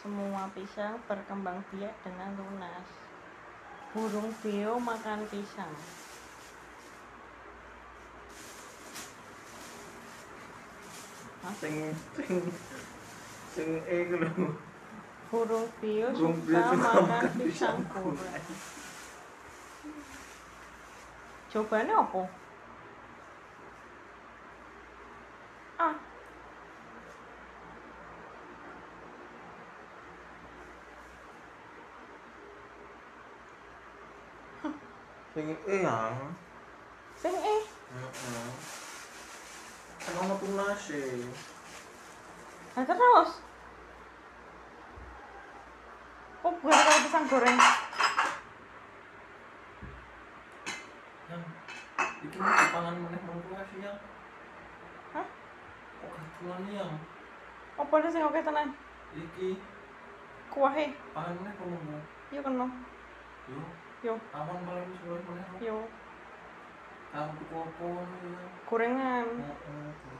Semua pisang berkembang biak dengan lunas. Burung beo makan pisang. sing sing sing e ku lho Burung beo Burung beo suka suka makan makan pisang pisang goreng. Jawabannya apa? Ah, sing e ya sing eh heeh kan ono tunase Nah, terus. Oh, bukan kalau pisang goreng. yang iki mau dipangan meneh mau tunase ya Hah? kok ketulan ya Apa ada sing oke tenan? iki Kuahe. pangan meneh kok mau Yo kena. Iya yo kan, Yo, awan malam wis meneh yo aku tuku apa ngono ya gorengan. heeh